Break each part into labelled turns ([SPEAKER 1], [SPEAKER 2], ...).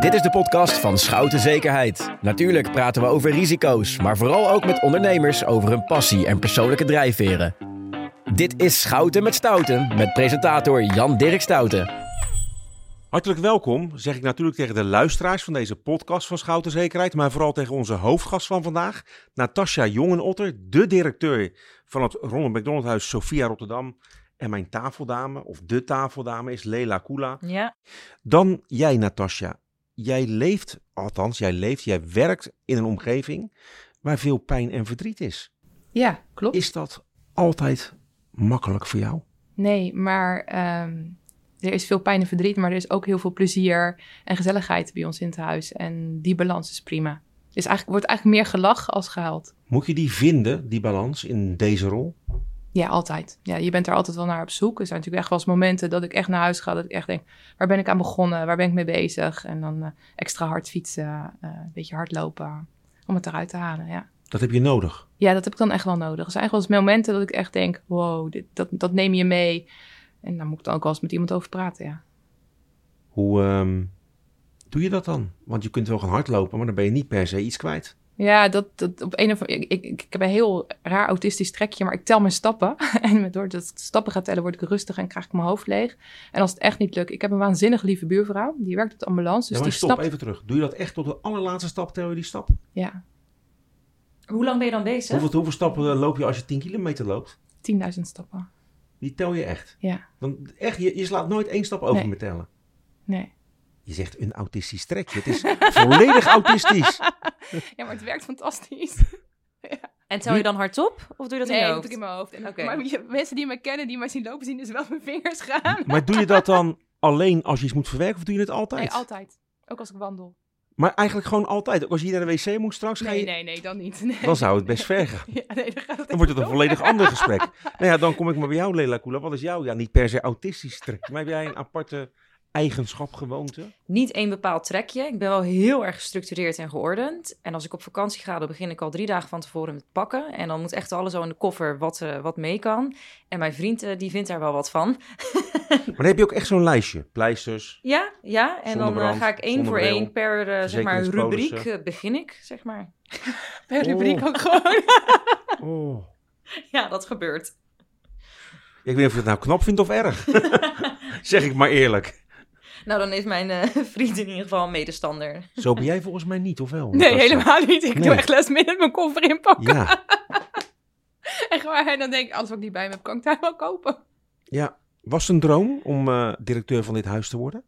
[SPEAKER 1] Dit is de podcast van Schouten Zekerheid. Natuurlijk praten we over risico's, maar vooral ook met ondernemers over hun passie en persoonlijke drijfveren. Dit is Schouten met Stouten met presentator Jan Dirk Stouten.
[SPEAKER 2] Hartelijk welkom, zeg ik natuurlijk tegen de luisteraars van deze podcast van Schouten Zekerheid, maar vooral tegen onze hoofdgast van vandaag, Natasja Jongenotter, de directeur van het Ronald McDonald Huis Sophia Rotterdam. En mijn tafeldame, of de tafeldame, is Leila Kula.
[SPEAKER 3] Ja,
[SPEAKER 2] Dan jij, Natasja. Jij leeft, althans, jij leeft, jij werkt in een omgeving waar veel pijn en verdriet is.
[SPEAKER 3] ja klopt.
[SPEAKER 2] Is dat altijd makkelijk voor jou?
[SPEAKER 3] Nee, maar ehm, er is veel pijn en verdriet, maar er is ook heel veel plezier en gezelligheid bij ons in het huis. En die balans is prima. Dus eigenlijk wordt eigenlijk meer gelach als gehaald.
[SPEAKER 2] Moet je die vinden, die balans, in deze rol?
[SPEAKER 3] Ja, altijd. Ja, je bent er altijd wel naar op zoek. Er zijn natuurlijk echt wel eens momenten dat ik echt naar huis ga. Dat ik echt denk, waar ben ik aan begonnen? Waar ben ik mee bezig? En dan eh, extra hard fietsen, eh, een beetje hardlopen om het eruit te halen, ja.
[SPEAKER 2] Dat heb je nodig.
[SPEAKER 3] Ja, dat heb ik dan echt wel nodig. Er zijn eigenlijk wel eens momenten dat ik echt denk, wow, dit, dat, dat neem je mee. En daar moet ik dan ook wel eens met iemand over praten, ja.
[SPEAKER 2] Hoe ehm, doe je dat dan? Want je kunt wel gaan hardlopen, maar dan ben je niet per se iets
[SPEAKER 3] Dus
[SPEAKER 2] kwijt.
[SPEAKER 3] Ja, dat, dat op een of andere ik, ik, ik heb een heel raar autistisch trekje, maar ik tel mijn stappen. En met door dat ik stappen ga tellen, word ik rustig en krijg ik mijn hoofd leeg. En als het echt niet lukt, ik heb een waanzinnig lieve buurvrouw, die werkt op de ambulance. Dus
[SPEAKER 2] ja, maar
[SPEAKER 3] die
[SPEAKER 2] stop
[SPEAKER 3] snapt.
[SPEAKER 2] even terug. Doe je dat echt tot de allerlaatste stap, tel je die stap?
[SPEAKER 3] Ja,
[SPEAKER 4] Hoe lang ben je dan bezig?
[SPEAKER 2] Hoeveel, hoeveel stappen eh, loop je als je 10 kilometer loopt?
[SPEAKER 3] 10.000 stappen.
[SPEAKER 2] Die tel je echt.
[SPEAKER 3] Ja,
[SPEAKER 2] Dan, echt je, je slaat nooit één stap over
[SPEAKER 3] Nee.
[SPEAKER 2] met tellen.
[SPEAKER 3] nee.
[SPEAKER 2] Je zegt een autistisch trekje. Het is volledig autistisch.
[SPEAKER 3] Ja, maar het werkt fantastisch.
[SPEAKER 4] En tel je dan hardop? Of doe je dat in je
[SPEAKER 3] dat
[SPEAKER 4] hoofd?
[SPEAKER 3] doe ik in mijn hoofd. En,
[SPEAKER 4] Oké.
[SPEAKER 3] Maar je- mensen die me kennen, die mij zien lopen, zien dus wel mijn vingers gaan.
[SPEAKER 2] Maar doe je dat dan alleen als je iets moet verwerken of doe je het altijd?
[SPEAKER 3] Nee, altijd. Ook als ik wandel.
[SPEAKER 2] Maar eigenlijk gewoon altijd. Ook als je naar de wc moet straks, ga
[SPEAKER 3] Nee,
[SPEAKER 2] je,
[SPEAKER 3] nee, nee, dan niet. Nee.
[SPEAKER 2] dan zou het best ver gaan.
[SPEAKER 3] Ja, nee, dan gaat het
[SPEAKER 2] Dan wordt het
[SPEAKER 3] echt
[SPEAKER 2] een
[SPEAKER 3] wel.
[SPEAKER 2] volledig ander gesprek. Nou ja, dan kom ik maar bij jou, Leila Koela. Wat is jou? Ja, niet per se autistisch trek. Maar heb jij een aparte eigenschap, gewoonte?
[SPEAKER 4] Niet één bepaald trekje. Ik ben wel heel erg gestructureerd en geordend. En als ik op vakantie ga, dan begin ik al drie dagen van tevoren met pakken. En dan moet echt alles al in de koffer wat, eh, wat mee kan. En mijn vriend, eh, die vindt daar wel wat van.
[SPEAKER 2] Maar dan heb je ook echt zo'n lijstje. Pleisters.
[SPEAKER 4] Ja, ja. En dan eh,
[SPEAKER 2] Zonnebrand,
[SPEAKER 4] ga ik één voor
[SPEAKER 2] zonnebril,
[SPEAKER 4] één per eh, zeg maar,
[SPEAKER 2] verzekeringspolissen.
[SPEAKER 4] rubriek eh, begin ik, zeg maar.
[SPEAKER 3] Per rubriek
[SPEAKER 2] Oh.
[SPEAKER 3] ook gewoon.
[SPEAKER 2] Oh.
[SPEAKER 4] Ja, dat gebeurt.
[SPEAKER 2] Ik weet niet of je het nou knap vindt of erg. zeg ik maar eerlijk.
[SPEAKER 4] Nou, dan is mijn eh, vriend in ieder geval een medestander.
[SPEAKER 2] Zo ben jij volgens mij niet, of wel?
[SPEAKER 3] Nee,
[SPEAKER 2] Natasja?
[SPEAKER 3] helemaal niet. Ik
[SPEAKER 2] eh, Nee.
[SPEAKER 3] doe echt last minute mijn koffer inpakken.
[SPEAKER 2] Ja,
[SPEAKER 3] Echt waar. En dan denk ik, alles wat ik niet bij me heb, kan ik daar wel kopen.
[SPEAKER 2] ja. Was het een droom om eh, directeur van dit huis te worden?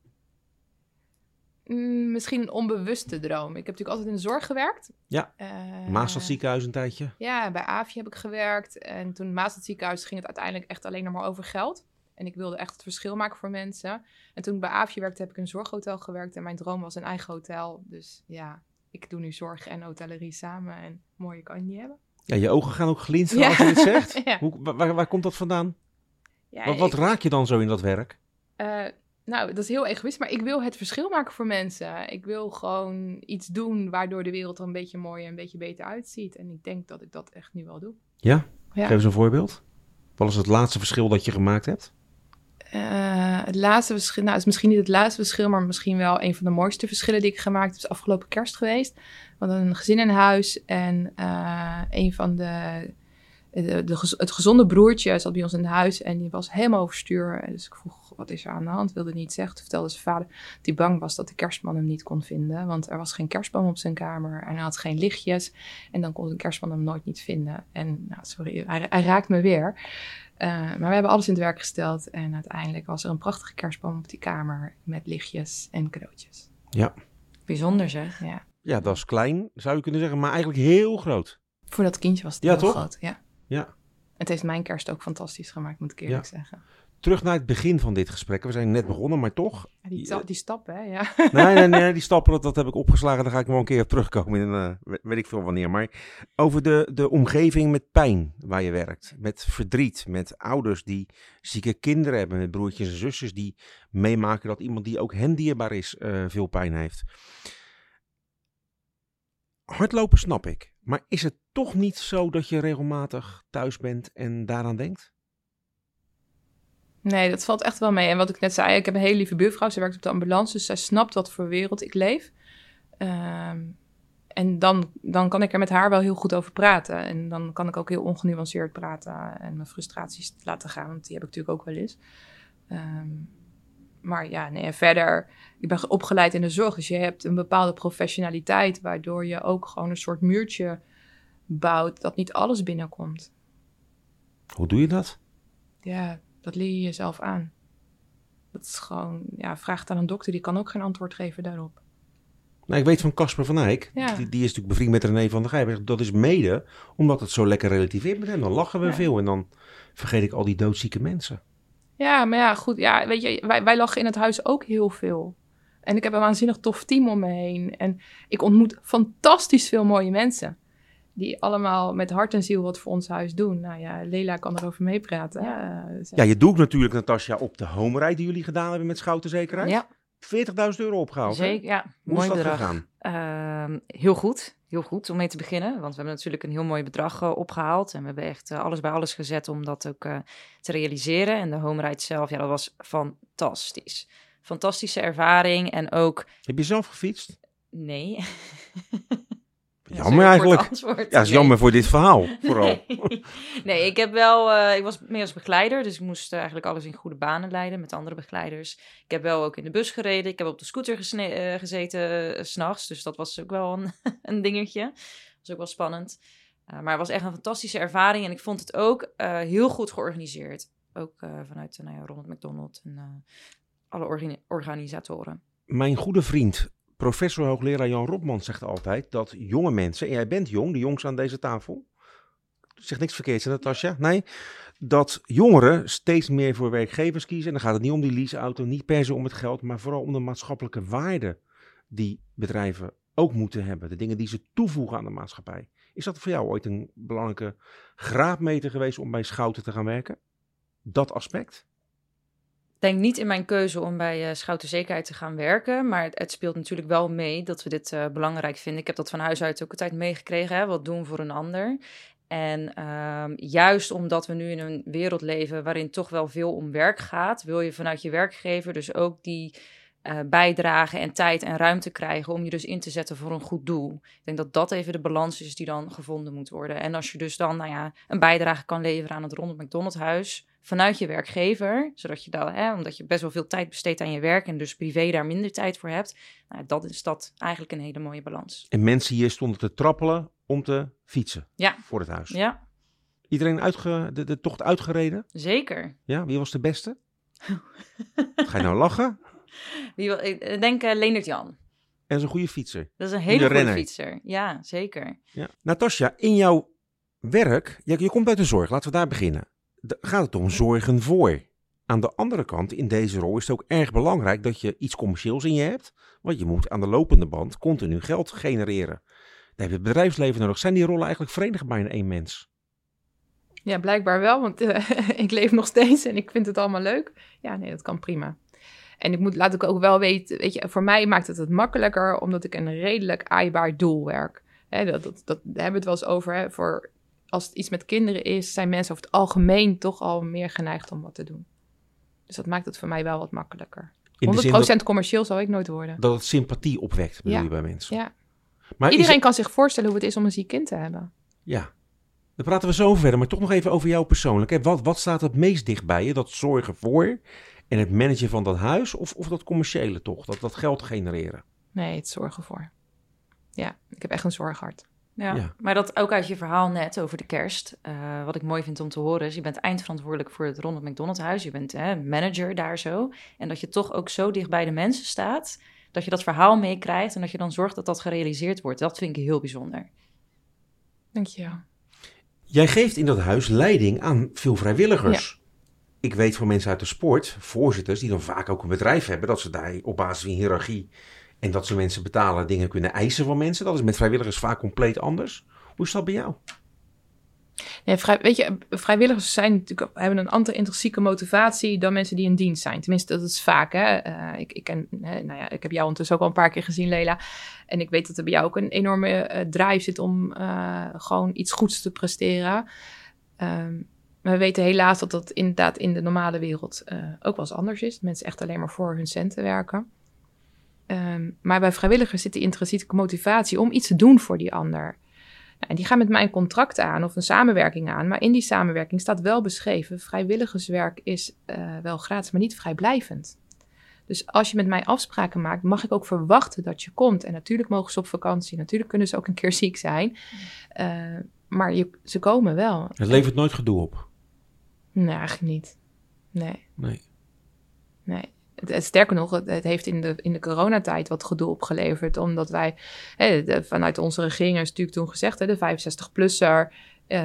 [SPEAKER 3] Mm, misschien een onbewuste droom. Ik heb natuurlijk altijd in de zorg gewerkt.
[SPEAKER 2] Ja.
[SPEAKER 3] Eh,
[SPEAKER 2] Maasland ziekenhuis een tijdje.
[SPEAKER 3] Ja, bij AVI heb ik gewerkt. En toen naast het ziekenhuis ging het uiteindelijk echt alleen nog maar over geld. En ik wilde echt het verschil maken voor mensen. En toen ik bij AVI werkte, heb ik in een zorghotel gewerkt. En mijn droom was een eigen hotel. Dus ja, ik doe nu zorg en hotellerie samen. En mooier kan je niet hebben.
[SPEAKER 2] Ja, je ogen gaan ook glinsteren
[SPEAKER 3] Ja.
[SPEAKER 2] als je dit zegt.
[SPEAKER 3] Ja.
[SPEAKER 2] Hoe, wa- waar, waar komt dat vandaan?
[SPEAKER 3] Ja,
[SPEAKER 2] wat wat
[SPEAKER 3] ik-
[SPEAKER 2] raak je dan zo in dat werk?
[SPEAKER 3] Eh, nou, dat is heel egoïst, maar ik wil het verschil maken voor mensen. Ik wil gewoon iets doen waardoor de wereld er een beetje mooier en een beetje beter uitziet. En ik denk dat ik dat echt nu wel doe.
[SPEAKER 2] Ja?
[SPEAKER 3] Ja.
[SPEAKER 2] Geef eens een voorbeeld. Wat is het laatste verschil dat je gemaakt hebt?
[SPEAKER 3] Eh, het laatste verschil, nou, het is misschien niet het laatste verschil, maar misschien wel een van de mooiste verschillen die ik gemaakt heb. Het is afgelopen kerst geweest. We hadden een gezin in huis en eh, een van de, eh, de, de gez- het gezonde broertje zat bij ons in huis en die was helemaal overstuur. Dus ik vroeg, wat is er aan de hand? Wilde niet zeggen. Toen vertelde zijn vader dat hij bang was dat de kerstman hem niet kon vinden, want er was geen kerstboom op zijn kamer en hij had geen lichtjes. En dan kon de kerstman hem nooit niet vinden. En nou, sorry, hij, hij raakt me weer. Eh, maar we hebben alles in het werk gesteld. En uiteindelijk was er een prachtige kerstboom op die kamer. Met lichtjes en cadeautjes.
[SPEAKER 4] Bijzonder zeg.
[SPEAKER 3] Ja.
[SPEAKER 2] Ja, dat is klein, zou je kunnen zeggen, maar eigenlijk heel groot.
[SPEAKER 3] Voor dat kindje was het
[SPEAKER 2] Ja,
[SPEAKER 3] heel
[SPEAKER 2] toch?
[SPEAKER 3] groot. Ja.
[SPEAKER 2] Ja.
[SPEAKER 3] Het heeft mijn kerst ook fantastisch gemaakt, moet ik eerlijk zeggen.
[SPEAKER 2] Terug naar het begin van dit gesprek. We zijn net begonnen, maar toch.
[SPEAKER 3] Ja, die,
[SPEAKER 2] Ja.
[SPEAKER 3] ta- die stap, hè? Ja.
[SPEAKER 2] Nee, nee, nee, die stappen, dat, dat heb ik opgeslagen. Daar ga ik wel een keer op terugkomen. In, eh, we- weet ik veel wanneer. Maar over de, de omgeving met pijn waar je werkt. Met verdriet. Met ouders die zieke kinderen hebben. Met broertjes en zusjes die meemaken dat iemand die ook hen dierbaar is eh, veel pijn heeft. Hardlopen snap ik. Maar is het toch niet zo dat je regelmatig thuis bent en daaraan denkt?
[SPEAKER 3] Nee, dat valt echt wel mee. En wat ik net zei, ik heb een hele lieve buurvrouw. Ze werkt op de ambulance, dus zij snapt wat voor wereld ik leef. Ehm, en dan, dan kan ik er met haar wel heel goed over praten. En dan kan ik ook heel ongenuanceerd praten en mijn frustraties laten gaan. Want die heb ik natuurlijk ook wel eens. Ehm, maar ja, nee, en verder, ik ben opgeleid in de zorg. Dus je hebt een bepaalde professionaliteit, waardoor je ook gewoon een soort muurtje bouwt dat niet alles binnenkomt.
[SPEAKER 2] Hoe doe je dat?
[SPEAKER 3] Ja, dat leer je jezelf aan. Dat is gewoon, ja, vraag het aan een dokter, die kan ook geen antwoord geven daarop.
[SPEAKER 2] Nou, ik weet van Casper van Eyck,
[SPEAKER 3] Ja.
[SPEAKER 2] die, die is natuurlijk bevriend met René van der Gijp. Dat is mede omdat het zo lekker relativeert met hem. Dan lachen we
[SPEAKER 3] Ja.
[SPEAKER 2] veel en dan vergeet ik al die doodzieke mensen.
[SPEAKER 3] Ja, maar ja, goed, ja, weet je, wij, wij lachen in het huis ook heel veel. En ik heb een waanzinnig tof team om me heen. En ik ontmoet fantastisch veel mooie mensen. Die allemaal met hart en ziel wat voor ons huis doen. Nou ja, Lela kan erover meepraten. Eh, Ja.
[SPEAKER 2] Ja, je doet natuurlijk, Natasja, op de homerij die jullie gedaan hebben met Schoutenzekerheid.
[SPEAKER 4] Ja,
[SPEAKER 2] 40.000 euro opgehaald. hè?
[SPEAKER 4] zeker. Ja,
[SPEAKER 2] Hoe
[SPEAKER 4] mooi
[SPEAKER 2] is dat
[SPEAKER 4] bedrag.
[SPEAKER 2] gegaan?
[SPEAKER 4] Ehm, heel goed. Heel goed om mee te beginnen. Want we hebben natuurlijk een heel mooi bedrag eh, opgehaald. En we hebben echt eh, alles bij alles gezet om dat ook eh, te realiseren. En de home ride zelf, ja, dat was fantastisch. Fantastische ervaring. En ook,
[SPEAKER 2] Heb je zelf gefietst?
[SPEAKER 4] nee. Ja, dat is een heel
[SPEAKER 2] Jammer
[SPEAKER 4] kort
[SPEAKER 2] eigenlijk.
[SPEAKER 4] antwoord.
[SPEAKER 2] Ja, is
[SPEAKER 4] Nee.
[SPEAKER 2] jammer voor dit verhaal, vooral.
[SPEAKER 4] Nee. Nee, ik heb wel. eh, ik was meer als begeleider, dus ik moest eh, eigenlijk alles in goede banen leiden met andere begeleiders. Ik heb wel ook in de bus gereden. Ik heb op de scooter gesne- eh, gezeten eh, s s'nachts. Dus dat was ook wel een, een dingetje. Dat was ook wel spannend. Eh, maar het was echt een fantastische ervaring. En ik vond het ook eh, heel goed georganiseerd. Ook eh, vanuit eh, nou ja, Ronald McDonald en eh, alle organi- organisatoren.
[SPEAKER 2] Mijn goede vriend, professor hoogleraar Jan Robman, zegt altijd dat jonge mensen, en jij bent jong, de jongste aan deze tafel, zegt niks verkeerds, hè, Natasja? Nee, dat jongeren steeds meer voor werkgevers kiezen. En dan gaat het niet om die leaseauto, niet per se om het geld, maar vooral om de maatschappelijke waarde die bedrijven ook moeten hebben. De dingen die ze toevoegen aan de maatschappij. Is dat voor jou ooit een belangrijke graadmeter geweest om bij Schouten te gaan werken? Dat aspect?
[SPEAKER 4] denk niet in mijn keuze om bij eh Schouten Zekerheid te gaan werken. Maar het, het speelt natuurlijk wel mee dat we dit eh, belangrijk vinden. Ik heb dat van huis uit ook altijd meegekregen. Hè? Wat doen voor een ander. En ehm, juist omdat we nu in een wereld leven waarin toch wel veel om werk gaat, wil je vanuit je werkgever dus ook die eh bijdrage en tijd en ruimte krijgen om je dus in te zetten voor een goed doel. Ik denk dat dat even de balans is die dan gevonden moet worden. En als je dus dan nou ja, een bijdrage kan leveren aan het Ronald McDonald Huis vanuit je werkgever, zodat je dan, hè, omdat je best wel veel tijd besteedt aan je werk en dus privé daar minder tijd voor hebt, nou, dat is dat eigenlijk een hele mooie balans.
[SPEAKER 2] En mensen hier stonden te trappelen om te fietsen
[SPEAKER 4] Ja.
[SPEAKER 2] voor het huis.
[SPEAKER 4] Ja,
[SPEAKER 2] Iedereen uitge, de, de tocht uitgereden?
[SPEAKER 4] zeker.
[SPEAKER 2] Ja, wie was de beste?
[SPEAKER 3] Oh.
[SPEAKER 2] Ga je nou lachen?
[SPEAKER 4] Wie wil, ik eh, denk eh, Leendert Jan.
[SPEAKER 2] En is een goede fietser.
[SPEAKER 4] Dat is een
[SPEAKER 2] Goede
[SPEAKER 4] hele goede
[SPEAKER 2] renner.
[SPEAKER 4] fietser. Ja, zeker.
[SPEAKER 2] Ja. Natasja, in jouw werk, je, je komt uit de zorg, laten we daar beginnen. Da- gaat het om zorgen voor? Aan de andere kant, in deze rol is het ook erg belangrijk dat je iets commercieels in je hebt. Want je moet aan de lopende band continu geld genereren. Daar heb je het bedrijfsleven nodig. Zijn die rollen eigenlijk verenigbaar in één mens?
[SPEAKER 3] Ja, blijkbaar wel, want eh, ik leef nog steeds en ik vind het allemaal leuk. Ja, nee, dat kan prima. En ik moet, laat ik ook wel weten, weet je, voor mij maakt het het makkelijker omdat ik een redelijk aaibaar doel werk. Hè, dat, dat, dat daar hebben we het wel eens over. Hè, voor als het iets met kinderen is, zijn mensen over het algemeen toch al meer geneigd om wat te doen. Dus dat maakt het voor mij wel wat makkelijker. 100%
[SPEAKER 2] In de zin dat,
[SPEAKER 3] commercieel zal ik nooit worden.
[SPEAKER 2] dat het sympathie opwekt, bedoel
[SPEAKER 3] Ja.
[SPEAKER 2] je bij mensen.
[SPEAKER 3] Ja.
[SPEAKER 2] Maar is
[SPEAKER 3] Iedereen kan zich voorstellen hoe het is om een ziek kind te hebben.
[SPEAKER 2] Ja. Daar praten we zo over verder, maar toch nog even over jou persoonlijk. Hè? Wat, wat staat het meest dicht bij je? Dat zorgen voor en het managen van dat huis of, of dat commerciële toch? Dat, dat geld genereren.
[SPEAKER 3] Nee, het zorgen voor. Ja, ik heb echt een zorghart.
[SPEAKER 4] Ja.
[SPEAKER 2] Ja.
[SPEAKER 4] maar dat ook uit je verhaal net over de kerst. eh, wat ik mooi vind om te horen is, je bent eindverantwoordelijk voor het Ronald McDonald Huis. Je bent hè, manager daar zo. En dat je toch ook zo dicht bij de mensen staat, dat je dat verhaal meekrijgt en dat je dan zorgt dat dat gerealiseerd wordt. Dat vind ik heel bijzonder.
[SPEAKER 3] Dankjewel.
[SPEAKER 2] Jij geeft in dat huis leiding aan veel vrijwilligers. Ik weet van mensen uit de sport, voorzitters, die dan vaak ook een bedrijf hebben, dat ze daar op basis van hiërarchie en dat ze mensen betalen, dingen kunnen eisen van mensen. Dat is met vrijwilligers vaak compleet anders. Hoe is dat bij jou?
[SPEAKER 3] Nee, vrij, weet je, vrijwilligers zijn natuurlijk, hebben een andere intrinsieke motivatie dan mensen die in dienst zijn. Tenminste, dat is vaak. Hè? Eh, ik, ik, ken, hè, nou ja, ik heb jou ondertussen ook al een paar keer gezien, Lela. En ik weet dat er bij jou ook een enorme eh, drive zit om eh, gewoon iets goeds te presteren. Ehm, we weten helaas dat dat inderdaad in de normale wereld eh, ook wel eens anders is. Dat mensen echt alleen maar voor hun centen werken. Ehm, maar bij vrijwilligers zit de intrinsieke motivatie om iets te doen voor die ander. Nou, en die gaan met mij een contract aan of een samenwerking aan. Maar in die samenwerking staat wel beschreven: vrijwilligerswerk is eh, wel gratis, maar niet vrijblijvend. Dus als je met mij afspraken maakt, mag ik ook verwachten dat je komt. En natuurlijk mogen ze op vakantie, natuurlijk kunnen ze ook een keer ziek zijn. Eh, maar je, ze komen wel.
[SPEAKER 2] Het levert nooit gedoe op.
[SPEAKER 3] Nee, eigenlijk niet. Nee,
[SPEAKER 2] Nee.
[SPEAKER 3] nee. Het- het- Sterker nog, het, het heeft in de, in de coronatijd wat gedoe opgeleverd. Omdat wij hè, de- vanuit onze regering is natuurlijk toen gezegd... Hè, de 65-plusser, eh,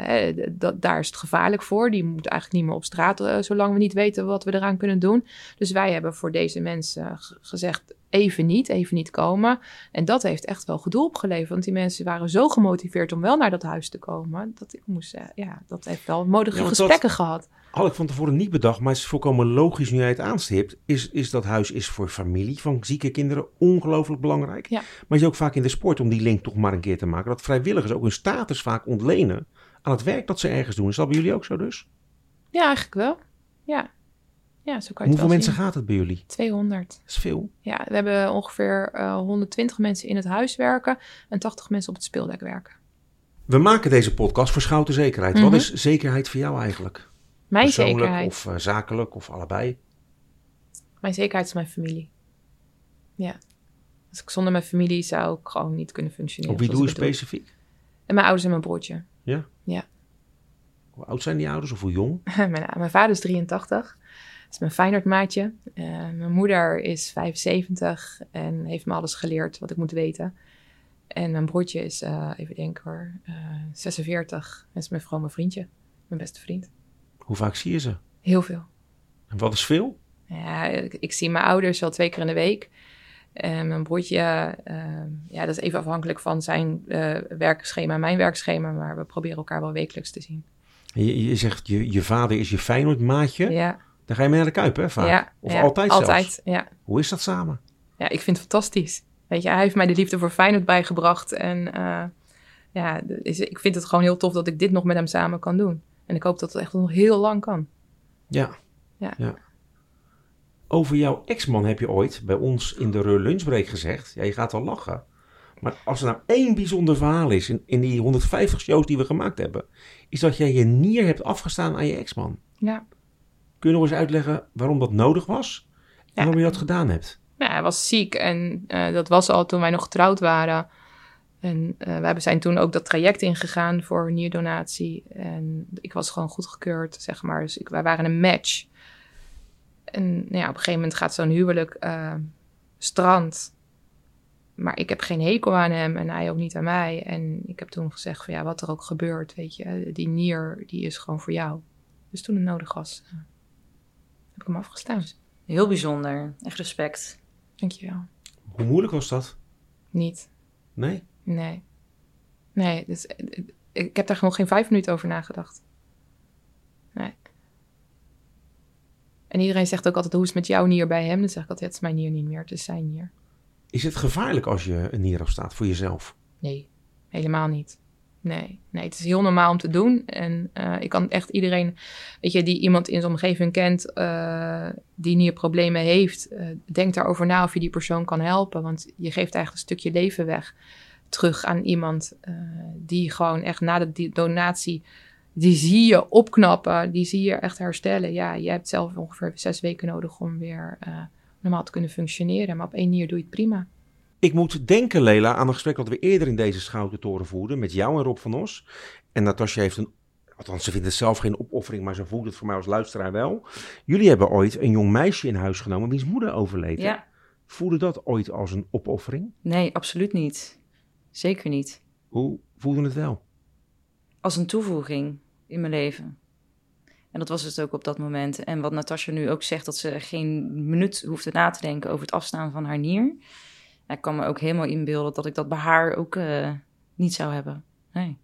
[SPEAKER 3] hè, d- dat- daar is het gevaarlijk voor. Die moet eigenlijk niet meer op straat... eh, zolang we niet weten wat we eraan kunnen doen. Dus wij hebben voor deze mensen eh, g- gezegd... even niet, even niet komen. En dat heeft echt wel gedoe opgeleverd. Want die mensen waren zo gemotiveerd om wel naar dat huis te komen... dat ik moest zeggen, ja, dat heeft wel modige
[SPEAKER 2] Ja, want dat-
[SPEAKER 3] gesprekken gehad.
[SPEAKER 2] Had ik van tevoren niet bedacht, maar het is volkomen logisch nu jij het aanstipt. Is, is dat huis is voor familie van zieke kinderen ongelooflijk belangrijk.
[SPEAKER 3] Ja.
[SPEAKER 2] Maar is ook vaak in de sport om die link toch maar een keer te maken. Dat vrijwilligers ook hun status vaak ontlenen aan het werk dat ze ergens doen. Is dat bij jullie ook zo dus?
[SPEAKER 3] Ja, eigenlijk wel. Ja, ja zo kan je het
[SPEAKER 2] Hoeveel
[SPEAKER 3] wel
[SPEAKER 2] mensen
[SPEAKER 3] zien.
[SPEAKER 2] gaat het bij jullie?
[SPEAKER 3] 200.
[SPEAKER 2] Dat is veel.
[SPEAKER 3] Ja, we hebben ongeveer eh, 120 mensen in het huis werken en 80 mensen op het speeldek werken.
[SPEAKER 2] We maken deze podcast voor Schouten Zekerheid.
[SPEAKER 3] Mhm.
[SPEAKER 2] Wat is zekerheid voor jou eigenlijk?
[SPEAKER 3] Mijn
[SPEAKER 2] Persoonlijk
[SPEAKER 3] zekerheid.
[SPEAKER 2] of eh, zakelijk of allebei?
[SPEAKER 3] Mijn zekerheid is mijn familie. Ja. Als ik zonder mijn familie zou ik gewoon niet kunnen functioneren.
[SPEAKER 2] Op wie doe
[SPEAKER 3] zoals
[SPEAKER 2] je
[SPEAKER 3] ik het
[SPEAKER 2] specifiek?
[SPEAKER 3] En mijn ouders en mijn broertje.
[SPEAKER 2] Hoe oud zijn die ouders of hoe jong?
[SPEAKER 3] mijn, eh, mijn vader is 83. Dat is mijn Feyenoord maatje. Eh, mijn moeder is 75 en heeft me alles geleerd wat ik moet weten. En mijn broertje is, eh, even denken hoor, eh 46. Dat is mijn vrouw, mijn vriendje. Mijn beste vriend.
[SPEAKER 2] Hoe vaak zie je ze?
[SPEAKER 3] Heel veel.
[SPEAKER 2] En wat is veel?
[SPEAKER 3] Ja, ik, ik zie mijn ouders wel twee keer in de week. En mijn broertje, eh, ja, dat is even afhankelijk van zijn eh, werkschema en mijn werkschema. Maar we proberen elkaar wel wekelijks te zien.
[SPEAKER 2] Je, je zegt, je, je vader is je Feyenoord-maatje.
[SPEAKER 3] Ja,
[SPEAKER 2] Dan ga je mee naar de Kuip, hè, vaak?
[SPEAKER 3] ja,
[SPEAKER 2] of
[SPEAKER 3] ja,
[SPEAKER 2] altijd zelfs?
[SPEAKER 3] Altijd, ja.
[SPEAKER 2] Hoe is dat samen?
[SPEAKER 3] ja, ik vind het fantastisch. Weet je, hij heeft mij de liefde voor Feyenoord bijgebracht. En eh, ja, d- is, ik vind het gewoon heel tof dat ik dit nog met hem samen kan doen. En ik hoop dat het echt nog heel lang kan.
[SPEAKER 2] Ja.
[SPEAKER 3] Ja.
[SPEAKER 2] Over jouw ex-man heb je ooit bij ons in de Reur Lunchbreak gezegd. Ja, je gaat wel lachen. Maar als er nou één bijzonder verhaal is in, in die 150 shows die we gemaakt hebben, is dat jij je nier hebt afgestaan aan je ex-man.
[SPEAKER 3] Ja.
[SPEAKER 2] Kun je nog eens uitleggen waarom dat nodig was en waarom je dat gedaan hebt?
[SPEAKER 3] Ja, hij was ziek en eh, dat was al toen wij nog getrouwd waren. En eh wij zijn toen ook dat traject ingegaan voor nierdonatie. En ik was gewoon goedgekeurd, zeg maar. Dus ik, wij waren een match. En nou ja, op een gegeven moment gaat zo'n huwelijk eh, strand. Maar ik heb geen hekel aan hem en hij ook niet aan mij. En ik heb toen gezegd van ja, wat er ook gebeurt, weet je. Die nier, die is gewoon voor jou. Dus toen het nodig was, eh, heb ik hem afgestaan. Dus
[SPEAKER 4] Heel bijzonder. Echt respect.
[SPEAKER 3] Dankjewel.
[SPEAKER 2] Hoe moeilijk was dat?
[SPEAKER 3] Niet.
[SPEAKER 2] Nee?
[SPEAKER 3] Nee. Nee, dus, eh, eh, ik heb daar gewoon geen vijf minuten over nagedacht. Nee. En iedereen zegt ook altijd, hoe is het met jouw nier bij hem? Dan zeg ik altijd, het is mijn nier niet meer, het is zijn nier.
[SPEAKER 2] Is het gevaarlijk als je een nier afstaat voor jezelf?
[SPEAKER 3] Nee, helemaal niet. Nee, nee, het is heel normaal om te doen. En eh, ik kan echt iedereen, weet je, die iemand in zijn omgeving kent, eh, die nierproblemen heeft, eh, denk daarover na of je die persoon kan helpen. Want je geeft eigenlijk een stukje leven weg terug aan iemand eh, die gewoon echt na de di- donatie, die zie je opknappen, die zie je echt herstellen. Ja, je hebt zelf ongeveer zes weken nodig om weer eh, normaal te kunnen functioneren. Maar op één nier doe je het prima.
[SPEAKER 2] Ik moet denken, Lela, aan een gesprek dat we eerder in deze Schoutentoren voerden met jou en Rob van Os. En Natasja heeft een, althans ze vindt het zelf geen opoffering, maar ze voelt het voor mij als luisteraar wel. Jullie hebben ooit een jong meisje in huis genomen wiens moeder overleed. hè?
[SPEAKER 4] Ja.
[SPEAKER 2] Voelde dat ooit als een opoffering?
[SPEAKER 4] Nee, absoluut niet. Zeker niet.
[SPEAKER 2] Hoe voelde het wel?
[SPEAKER 4] Als een toevoeging in mijn leven. En dat was het ook op dat moment. En wat Natasja nu ook zegt, dat ze geen minuut hoefde na te denken over het afstaan van haar nier. En ik kan me ook helemaal inbeelden dat ik dat bij haar ook eh, niet zou hebben. Nee.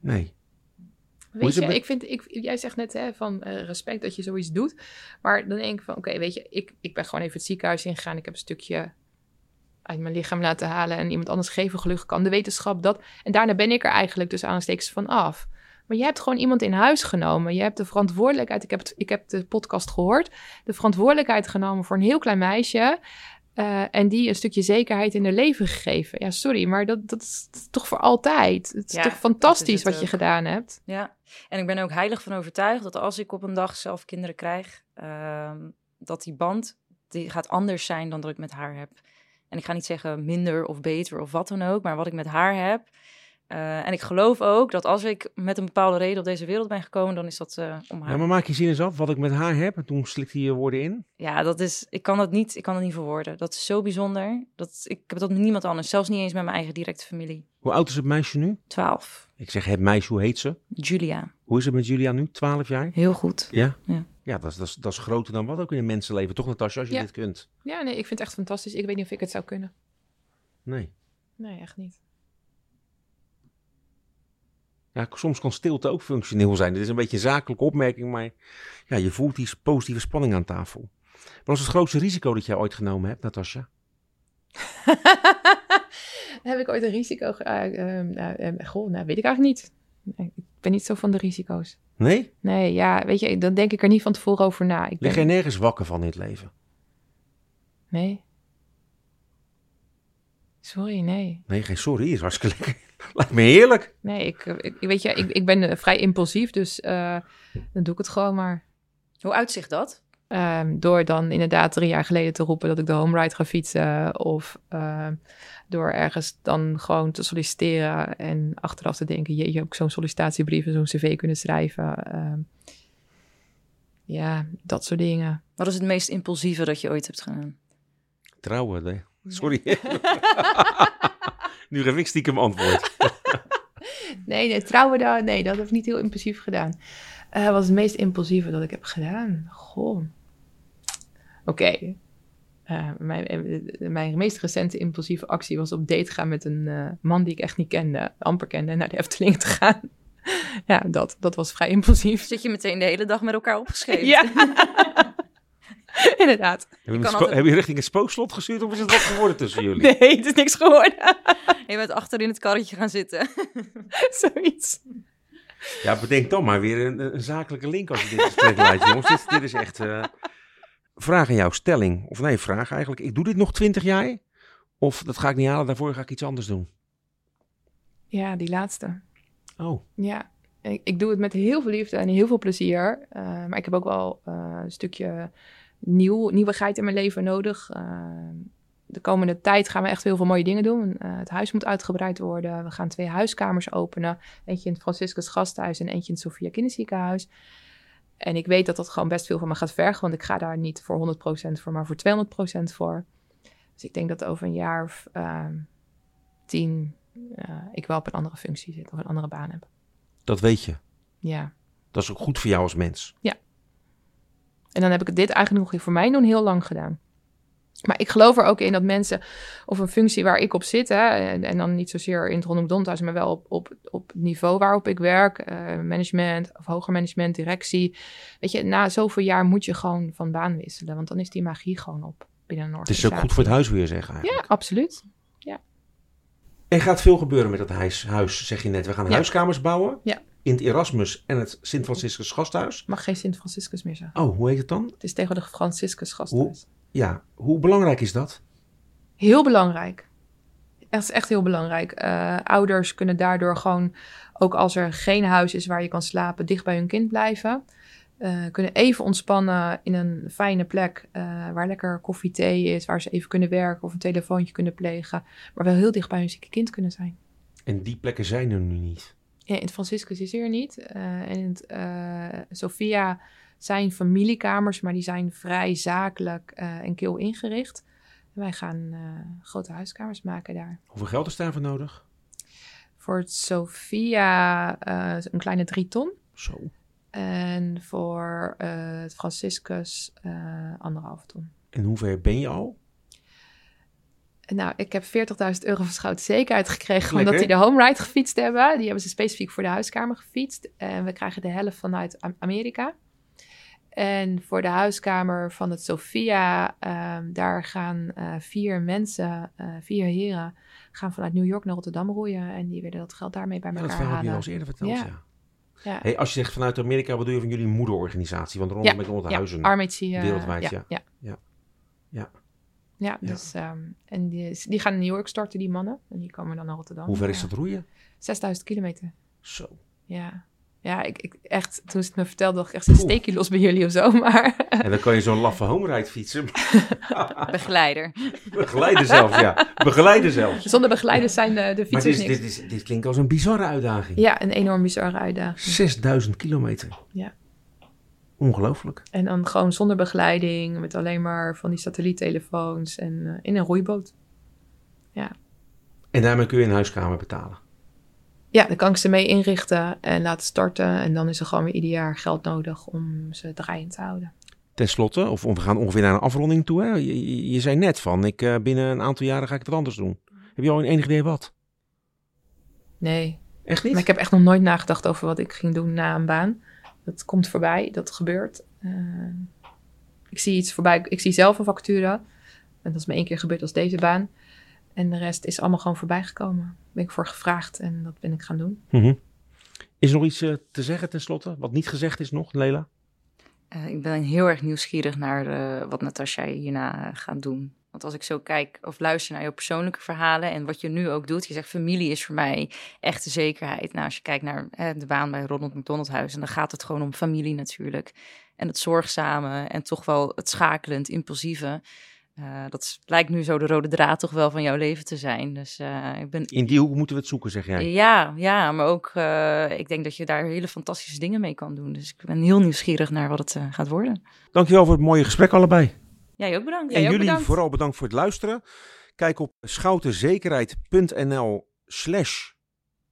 [SPEAKER 2] Nee. Hoe
[SPEAKER 3] Weet
[SPEAKER 2] is het
[SPEAKER 3] je,
[SPEAKER 2] met-
[SPEAKER 3] ik vind, ik, jij zegt net hè, van eh, respect dat je zoiets doet. Maar dan denk ik van, oké, weet je, ik, ik ben gewoon even het ziekenhuis ingegaan. Ik heb een stukje uit mijn lichaam laten halen en iemand anders geven. Gelukkig kan de wetenschap dat. En daarna ben ik er eigenlijk dus aanstekens van af. Maar je hebt gewoon iemand in huis genomen. Je hebt de verantwoordelijkheid. Ik heb, het, ik heb de podcast gehoord. De verantwoordelijkheid genomen voor een heel klein meisje. eh, en die een stukje zekerheid in haar leven gegeven. Ja, sorry, maar dat, dat is toch voor altijd. Het is
[SPEAKER 4] Ja,
[SPEAKER 3] toch
[SPEAKER 4] dat
[SPEAKER 3] fantastisch
[SPEAKER 4] is het
[SPEAKER 3] wat je
[SPEAKER 4] ook.
[SPEAKER 3] gedaan hebt.
[SPEAKER 4] Ja, en ik ben er ook heilig van overtuigd dat als ik op een dag zelf kinderen krijg, ehm, dat die band die gaat anders zijn dan dat ik met haar heb. En ik ga niet zeggen minder of beter of wat dan ook, maar wat ik met haar heb. eh, en ik geloof ook dat als ik met een bepaalde reden op deze wereld ben gekomen, dan is dat eh, om haar.
[SPEAKER 2] Ja, maar maak je zin eens af wat ik met haar heb. En toen slikte je je woorden in.
[SPEAKER 4] Ja, dat is. Ik kan dat niet. Ik kan dat niet verwoorden. Dat is zo bijzonder. Dat ik heb dat met niemand anders. Zelfs niet eens met mijn eigen directe familie.
[SPEAKER 2] Hoe oud is het meisje nu?
[SPEAKER 4] 12.
[SPEAKER 2] Ik zeg het meisje, hoe heet ze?
[SPEAKER 4] Julia.
[SPEAKER 2] Hoe is het met Julia nu? 12 jaar?
[SPEAKER 4] Heel goed.
[SPEAKER 2] Ja?
[SPEAKER 4] Ja.
[SPEAKER 2] Ja, dat is, dat, is, dat is groter dan wat ook in een mensenleven. Toch Natasja, als je
[SPEAKER 3] Ja.
[SPEAKER 2] dit kunt?
[SPEAKER 3] Ja, nee, ik vind het echt fantastisch. Ik weet niet of ik het zou kunnen.
[SPEAKER 2] Nee.
[SPEAKER 3] Nee, echt niet.
[SPEAKER 2] Ja, soms kan stilte ook functioneel zijn. Dit is een beetje een zakelijke opmerking, maar ja, je voelt die positieve spanning aan tafel. Wat was het grootste risico dat jij ooit genomen hebt, Natasja?
[SPEAKER 3] Heb ik ooit een risico? ge- eh, eh, nou, eh, goh, nou weet ik eigenlijk niet. Nee, ik ben niet zo van de risico's.
[SPEAKER 2] Nee?
[SPEAKER 3] Nee, ja, weet je, dan denk ik er niet van tevoren over na. Ik
[SPEAKER 2] Lig
[SPEAKER 3] ben-
[SPEAKER 2] jij nergens wakker van in het leven?
[SPEAKER 3] Nee. Sorry, nee.
[SPEAKER 2] Nee, geen sorry, is hartstikke lekker. Lijkt me heerlijk.
[SPEAKER 3] Nee, ik, eh, ik weet je, ik, ik ben eh, vrij impulsief, dus eh, dan doe ik het gewoon maar.
[SPEAKER 4] Hoe uitzicht dat?
[SPEAKER 3] Ehm, door dan inderdaad drie jaar geleden te roepen dat ik de home ride ga fietsen. Of ehm, door ergens dan gewoon te solliciteren en achteraf te denken... je, je hebt zo'n sollicitatiebrief en zo'n cv kunnen schrijven. Ehm, ja, dat soort dingen.
[SPEAKER 4] Wat is het meest impulsieve dat je ooit hebt gedaan?
[SPEAKER 2] Trouwen, nee. Sorry. nu geef ik stiekem antwoord.
[SPEAKER 3] Nee, nee trouwen daar, nee, dat heb ik niet heel impulsief gedaan. Eh wat is het meest impulsieve dat ik heb gedaan? Goh. Oké. Eh, mijn, eh, mijn meest recente impulsieve actie was op date gaan met een eh, man die ik echt niet kende, amper kende, en naar de Efteling te gaan. ja, dat, dat was vrij impulsief.
[SPEAKER 4] Zit je meteen de hele dag met elkaar opgeschreven?
[SPEAKER 3] Ja. Inderdaad.
[SPEAKER 2] Heb je,
[SPEAKER 4] kan altijd-
[SPEAKER 2] heb je richting het spookslot gestuurd of is het wat geworden tussen jullie?
[SPEAKER 3] Nee, het is niks geworden.
[SPEAKER 4] Je bent achter in het karretje gaan zitten.
[SPEAKER 3] Zoiets.
[SPEAKER 2] Ja, bedenk dan maar weer een, een zakelijke link als je dit gesprek leidt, jongens. Dit, dit is echt... eh, Vraag aan jouw stelling. Of nee, vraag eigenlijk. Ik doe dit nog twintig jaar? Of dat ga ik niet halen, daarvoor ga ik iets anders doen.
[SPEAKER 3] Ja, die laatste.
[SPEAKER 2] Oh,
[SPEAKER 3] Ja, ik, ik doe het met heel veel liefde en heel veel plezier. Eh, maar ik heb ook wel eh, een stukje nieuw, nieuwigheid in mijn leven nodig. Eh, de komende tijd gaan we echt heel veel mooie dingen doen. Eh, het huis moet uitgebreid worden. We gaan twee huiskamers openen. Eentje in het Franciscus Gasthuis en eentje in het Sofia Kinderziekenhuis. En ik weet dat dat gewoon best veel van me gaat vergen. Want ik ga daar niet voor 100% voor, maar voor 200% voor. Dus ik denk dat over een jaar of eh, tien eh, ik wel op een andere functie zit of een andere baan heb.
[SPEAKER 2] dat weet je.
[SPEAKER 3] Ja.
[SPEAKER 2] Dat is ook goed voor jou als mens.
[SPEAKER 3] En dan heb ik dit eigenlijk nog voor mij doen heel lang gedaan. Maar ik geloof er ook in dat mensen of een functie waar ik op zit, hè, en, en dan niet zozeer in het rondom Domthuis, maar wel op, op, op het niveau waarop ik werk, eh, management of hoger management, directie. Weet je, na zoveel jaar moet je gewoon van baan wisselen, want dan is die magie gewoon op binnen een
[SPEAKER 2] Het
[SPEAKER 3] organisatie.
[SPEAKER 2] is ook goed voor het huis weer, zeggen eigenlijk.
[SPEAKER 3] Ja, absoluut.
[SPEAKER 2] Er gaat veel gebeuren met dat huis, huis zeg je net. We gaan
[SPEAKER 3] Ja.
[SPEAKER 2] huiskamers bouwen.
[SPEAKER 3] Ja.
[SPEAKER 2] In het Erasmus en het Sint-Franciscus Gasthuis.
[SPEAKER 3] Mag geen Sint-Franciscus meer zijn.
[SPEAKER 2] Oh, hoe heet het dan?
[SPEAKER 3] Het is tegenwoordig Franciscus gasthuis.
[SPEAKER 2] Ja, hoe belangrijk is dat?
[SPEAKER 3] Heel belangrijk. Dat is echt heel belangrijk. Eh, ouders kunnen daardoor gewoon, ook als er geen huis is waar je kan slapen, dicht bij hun kind blijven. Eh, kunnen even ontspannen in een fijne plek eh, waar lekker koffie, thee is, waar ze even kunnen werken of een telefoontje kunnen plegen. Maar wel heel dicht bij hun zieke kind kunnen zijn.
[SPEAKER 2] En die plekken zijn er nu niet.
[SPEAKER 3] Ja, in het Franciscus is er niet. Eh, en in het, eh, Sophia zijn familiekamers, maar die zijn vrij zakelijk eh, en kil ingericht. En wij gaan eh, grote huiskamers maken daar.
[SPEAKER 2] Hoeveel geld is daarvoor nodig?
[SPEAKER 3] Voor het Sophia eh, een kleine drie ton.
[SPEAKER 2] Zo.
[SPEAKER 3] En voor eh, het Franciscus eh anderhalve ton.
[SPEAKER 2] En hoe ver ben je al?
[SPEAKER 3] En Nou, ik heb 40.000 euro van Schout Zekerheid gekregen omdat
[SPEAKER 2] Lekker.
[SPEAKER 3] die de home ride gefietst hebben. Die hebben ze specifiek voor de huiskamer gefietst. En we krijgen de helft vanuit Am- Amerika. En voor de huiskamer van het Sophia, ehm, daar gaan eh, vier mensen, eh, vier heren, gaan vanuit New York naar Rotterdam roeien. En die willen dat geld daarmee bij
[SPEAKER 2] Ja,
[SPEAKER 3] elkaar
[SPEAKER 2] dat verhaal heb je
[SPEAKER 3] halen.
[SPEAKER 2] al eens eerder verteld, ja.
[SPEAKER 3] Ja. Ja.
[SPEAKER 2] Hey, als je zegt vanuit Amerika, wat doe je van jullie moederorganisatie? Want rondom
[SPEAKER 3] Ja,
[SPEAKER 2] met honderd
[SPEAKER 3] ja,
[SPEAKER 2] huizen.
[SPEAKER 3] Armatie. eh,
[SPEAKER 2] Wereldwijd, ja.
[SPEAKER 3] Ja,
[SPEAKER 2] Ja. Ja.
[SPEAKER 3] Ja,
[SPEAKER 2] Ja.
[SPEAKER 3] dus, ehm, en die, die gaan in New York starten, die mannen. En die komen dan naar Rotterdam.
[SPEAKER 2] Hoe ver is
[SPEAKER 3] Ja.
[SPEAKER 2] dat roeien?
[SPEAKER 3] 6000 kilometer.
[SPEAKER 2] Zo.
[SPEAKER 3] Ja. Ja, ik, ik echt, toen ze het me vertelde, dacht ik echt, ze
[SPEAKER 2] Oeh.
[SPEAKER 3] steek je los bij jullie of zo. Maar
[SPEAKER 2] En dan kan je zo'n laffe homeride fietsen.
[SPEAKER 4] Begeleider.
[SPEAKER 2] Begeleiden zelfs, ja. Begeleiden zelfs.
[SPEAKER 3] zonder begeleiders zijn eh, de, de
[SPEAKER 2] Maar
[SPEAKER 3] fietsers
[SPEAKER 2] dit, is-
[SPEAKER 3] niks.
[SPEAKER 2] dit, is, dit klinkt als een bizarre uitdaging.
[SPEAKER 3] Ja, een enorm bizarre uitdaging.
[SPEAKER 2] 6000 kilometer.
[SPEAKER 3] Ja.
[SPEAKER 2] Ongelooflijk.
[SPEAKER 3] En dan gewoon zonder begeleiding, met alleen maar van die satelliettelefoons en eh, in een roeiboot.
[SPEAKER 2] En daarmee kun je een huiskamer betalen.
[SPEAKER 3] Ja, dan kan ik ze mee inrichten en laten starten. En dan is er gewoon weer ieder jaar geld nodig om ze draaiend te houden.
[SPEAKER 2] Ten slotte, of we gaan ongeveer naar een afronding toe. Hè? Je, je- je zei net van, ik, eh, binnen een aantal jaren ga ik het wat anders doen. Heb je al een enig idee wat?
[SPEAKER 3] Nee,
[SPEAKER 2] Echt niet?
[SPEAKER 3] maar ik heb echt nog nooit nagedacht over wat ik ging doen na een baan. Dat komt voorbij, dat gebeurt. Eh, ik zie iets voorbij, ik zie zelf een vacature. En dat is me één keer gebeurd als deze baan. En de rest is allemaal gewoon voorbij gekomen. Ben ik voor gevraagd en dat ben ik gaan doen.
[SPEAKER 2] Mhm. Is er nog iets eh, te zeggen ten slotte? Wat niet gezegd is nog, Lela?
[SPEAKER 4] Eh, ik ben heel erg nieuwsgierig naar eh, wat Natasja hierna eh, gaat doen. Want als ik zo kijk of luister naar je persoonlijke verhalen en wat je nu ook doet, je zegt familie is voor mij echt de zekerheid. Nou, als je kijkt naar eh, de baan bij Ronald McDonald Huis, en dan gaat het gewoon om familie natuurlijk. En het zorgzame en toch wel het schakelend, impulsieve. Eh, dat is- lijkt nu zo de rode draad toch wel van jouw leven te zijn. Dus eh, ik ben
[SPEAKER 2] In die hoek moeten we het zoeken, zeg jij.
[SPEAKER 4] ja, ja, maar ook eh, ik denk dat je daar hele fantastische dingen mee kan doen. Dus ik ben heel nieuwsgierig naar wat het eh, gaat worden.
[SPEAKER 2] Dankjewel voor het mooie gesprek allebei.
[SPEAKER 4] Jij ook bedankt.
[SPEAKER 2] en jullie vooral bedankt voor het luisteren. Kijk op schoutenzekerheid.nl slash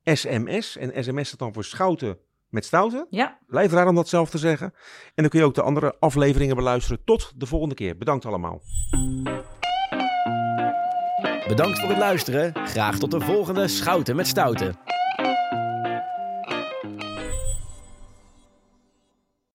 [SPEAKER 2] sms. En sms staat dan voor schouten met stouten.
[SPEAKER 4] Ja,
[SPEAKER 2] Lijf raar om dat zelf te zeggen. En dan kun je ook de andere afleveringen beluisteren. Tot de volgende keer. Bedankt allemaal.
[SPEAKER 1] Bedankt voor het luisteren. Graag tot de volgende Schouten met Stouten.